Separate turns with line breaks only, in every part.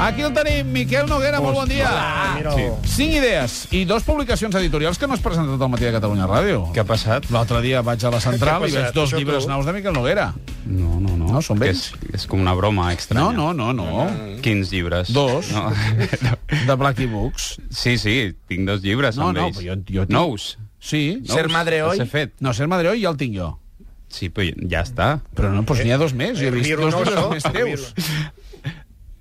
Aquí el tenim, Miquel Noguera, molt bon dia. Sí. Cinc idees i dos publicacions editorials que no has presentat al matí de Catalunya Ràdio.
Què ha passat?
L'altre dia vaig a la
Què
central
ha
i veig
passat?
dos
Això
llibres
tu?
nous de Miquel Noguera. No, no, no. No, són
Que
vells.
és, és com una broma estranya.
No, no, no, no.
Quins llibres?
Dos.
No.
De Black e Books.
Sí, sí, tinc dos llibres
No,
amb
no,
ells.
però jo- jo tinc-
Nous.
Sí.
Nous.
Ser madre hoy.
Els he fet.
No, Ser Madreu ja el tinc jo.
Sí, però ja està.
Però no, doncs n'hi ha dos més. Jo he vist
Rir
dos
un oso.
llibres més teus.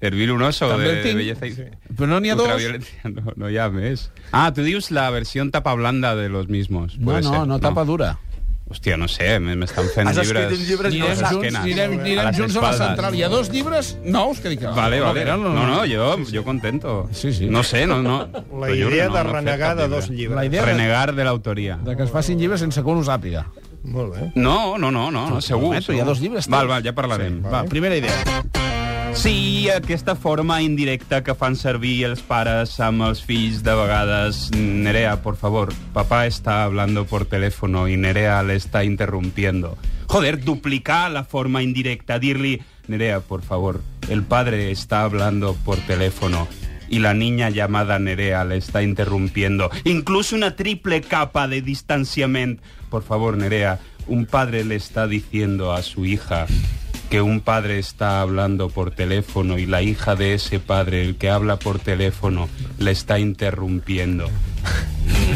Hervir un oso
També
de,
el
de
tinc.
belleza. i-
Però no n'hi ha dos.
Ultraviolencia, No, no hi ha més. Ah, tu dius la versió tapa blanda de los mismos.
No,
Puede
no,
ser.
no, tapa dura.
Hòstia, no sé, m- m'estan fent
Has escrit
llibres...
uns llibres
a les
Anirem junts,
esquenes,
anirem, anirem
les
junts a la
espaldes.
central. Hi ha dos llibres nous que dic... ah,
Vale, vale.
no,
No, no, jo, jo contento.
Sí, sí.
No sé, no... no
La
t'ho juro,
idea
no,
de
no he fet
renegar
cap
de
llibre.
dos llibres.
La idea de,
Renegar de l'autoria.
de que es facin llibres sense que un ho sàpiga.
Molt bé.
eh?
No, no, no, no, no segur.
prometo, hi ha
segur.
dos llibres,
Val,
tio.
val, ja parlarem. Sí,
Va, primera idea.
Sí, aquesta forma indirecta que fan servir els pares amb els fills de vegades. Nerea, por favor, papá está hablando por teléfono y Nerea le está interrumpiendo. Joder, duplicar la forma indirecta, dirle, Nerea, por favor, el padre está hablando por teléfono y la niña llamada Nerea le está interrumpiendo. Incluso una triple capa de distanciamiento. Por favor, Nerea, un padre le está diciendo a su hija que un padre está hablando por teléfono y la hija de ese padre, el que habla por teléfono, le está interrumpiendo.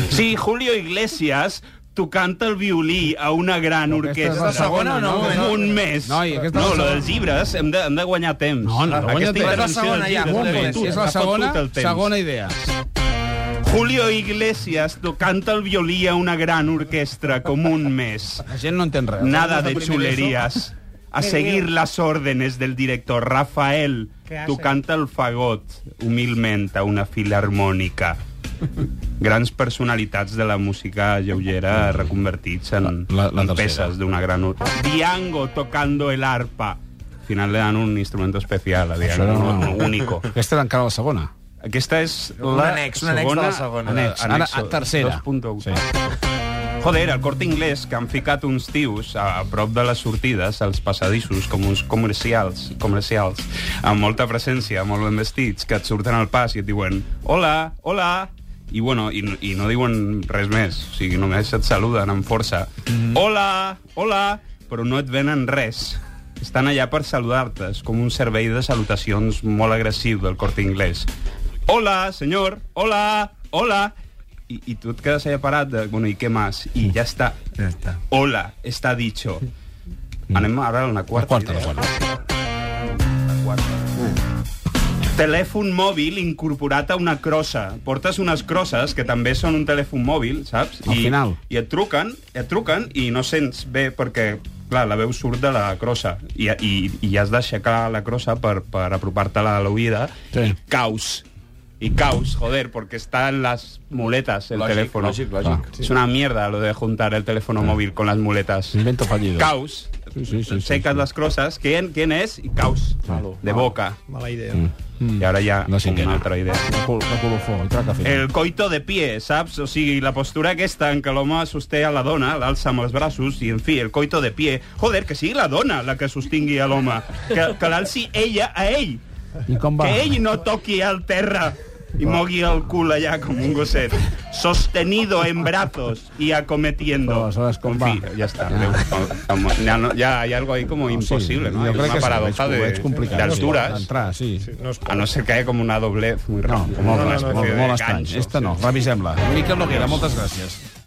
Sí, Julio Iglesias, tu canta el violí a una gran
Aquesta és la
orquestra.
segona,
no?
Un, un mes.
Noi, aquesta és la
no, lo
segona.
dels llibres, hem de, hem de guanyar temps.
No, no, guanya
Aquesta
temps.
intervenció
És la segona,
dels llibres,
ja, un
t'ha
moment.
fotut,
És la
t'ha fotut
segona,
el temps.
segona idea.
Julio Iglesias tocant el violí a una gran orquestra com un mes.
La gent no entén res.
Nada de chulerías. A seguir las órdenes del director Rafael. Tu canta el fagot humilment a una filarmònica. Grans personalitats de la música lleugera reconvertits en,
La- la- la
en
tercera.
peces d'una gran... or- Diango tocando el arpa. Al final le dan un instrumento especial a Diango,
Això no-
no, no, único.
Aquesta era encara la segona.
Aquesta és la
Un annex, un annex de la segona.
Annex. Ara, a tercera.
2.1.
Sí.
Joder, al Corte Inglés, que han ficat uns tios a prop de les sortides, als passadissos, com uns comercials, comercials, amb molta presència, molt ben vestits, que et surten al pas i et diuen «Hola, hola!» I, bueno, i, i no diuen res més, o sigui, només et saluden amb força. «Hola, hola!» Però no et venen res. Estan allà per saludar-te, és com un servei de salutacions molt agressiu del Corte Inglés. «Hola, senyor! Hola! Hola!» I, i tu et quedes allà parat de, bueno, i què més? I ja està.
Ja està.
Hola, està dicho. Anem ara a una
La
quarta.
Mm. quarta, la
idea.
quarta.
Telèfon mòbil incorporat a una crossa. Portes unes crosses que també són un telèfon mòbil, saps?
Al final.
I et truquen, et truquen i no sents bé perquè, clar, la veu surt de la crossa i, i, i has d'aixecar la crossa per, per apropar-te-la a l'oïda.
Sí.
I caus. I caus, joder, porque está en las muletas el
Lògic,
teléfono.
lògic, lògic.
Ah. Es una mierda lo de juntar el teléfono móvil con las muletas.
Invento fallido.
Caus.
Sí, sí, sí, sí,
secas
sí.
las crosas. ¿Quién, ¿Quién es? Y caus.
Malo.
De boca.
Mala idea.
Mm.
I ara ja
La
una
cinquena.
altra idea.
La, col, la colofó, el traca fet.
El coito de pie, saps? O sigui, la postura aquesta en què l'home sosté a la dona, l'alça amb els braços, i en fi, el coito de pie. Joder, que sigui la dona la que sostingui a l'home. Que, que l'alci ella a ell.
I com va?
Que ell no toqui al terra i mogui el cul allà com un gosset. Sostenido en brazos y
Però
acometiendo.
aleshores com
en fi,
va?
ja està. Adéu. Ja, no, ja hi ha algo ahí como imposible, no?
Jo
Hay
crec
una
que
paradoja
sí,
de-
veig complicat.
d'altures.
D'entrar, sí. sí.
No es pot.
A no ser que hi hagi com una doblez muy
No,
rara.
molt,
una
molt,
especie
molt,
de
molt
gancho.
estrany. Esta no, revisem-la. Miquel Noguera, moltes gràcies.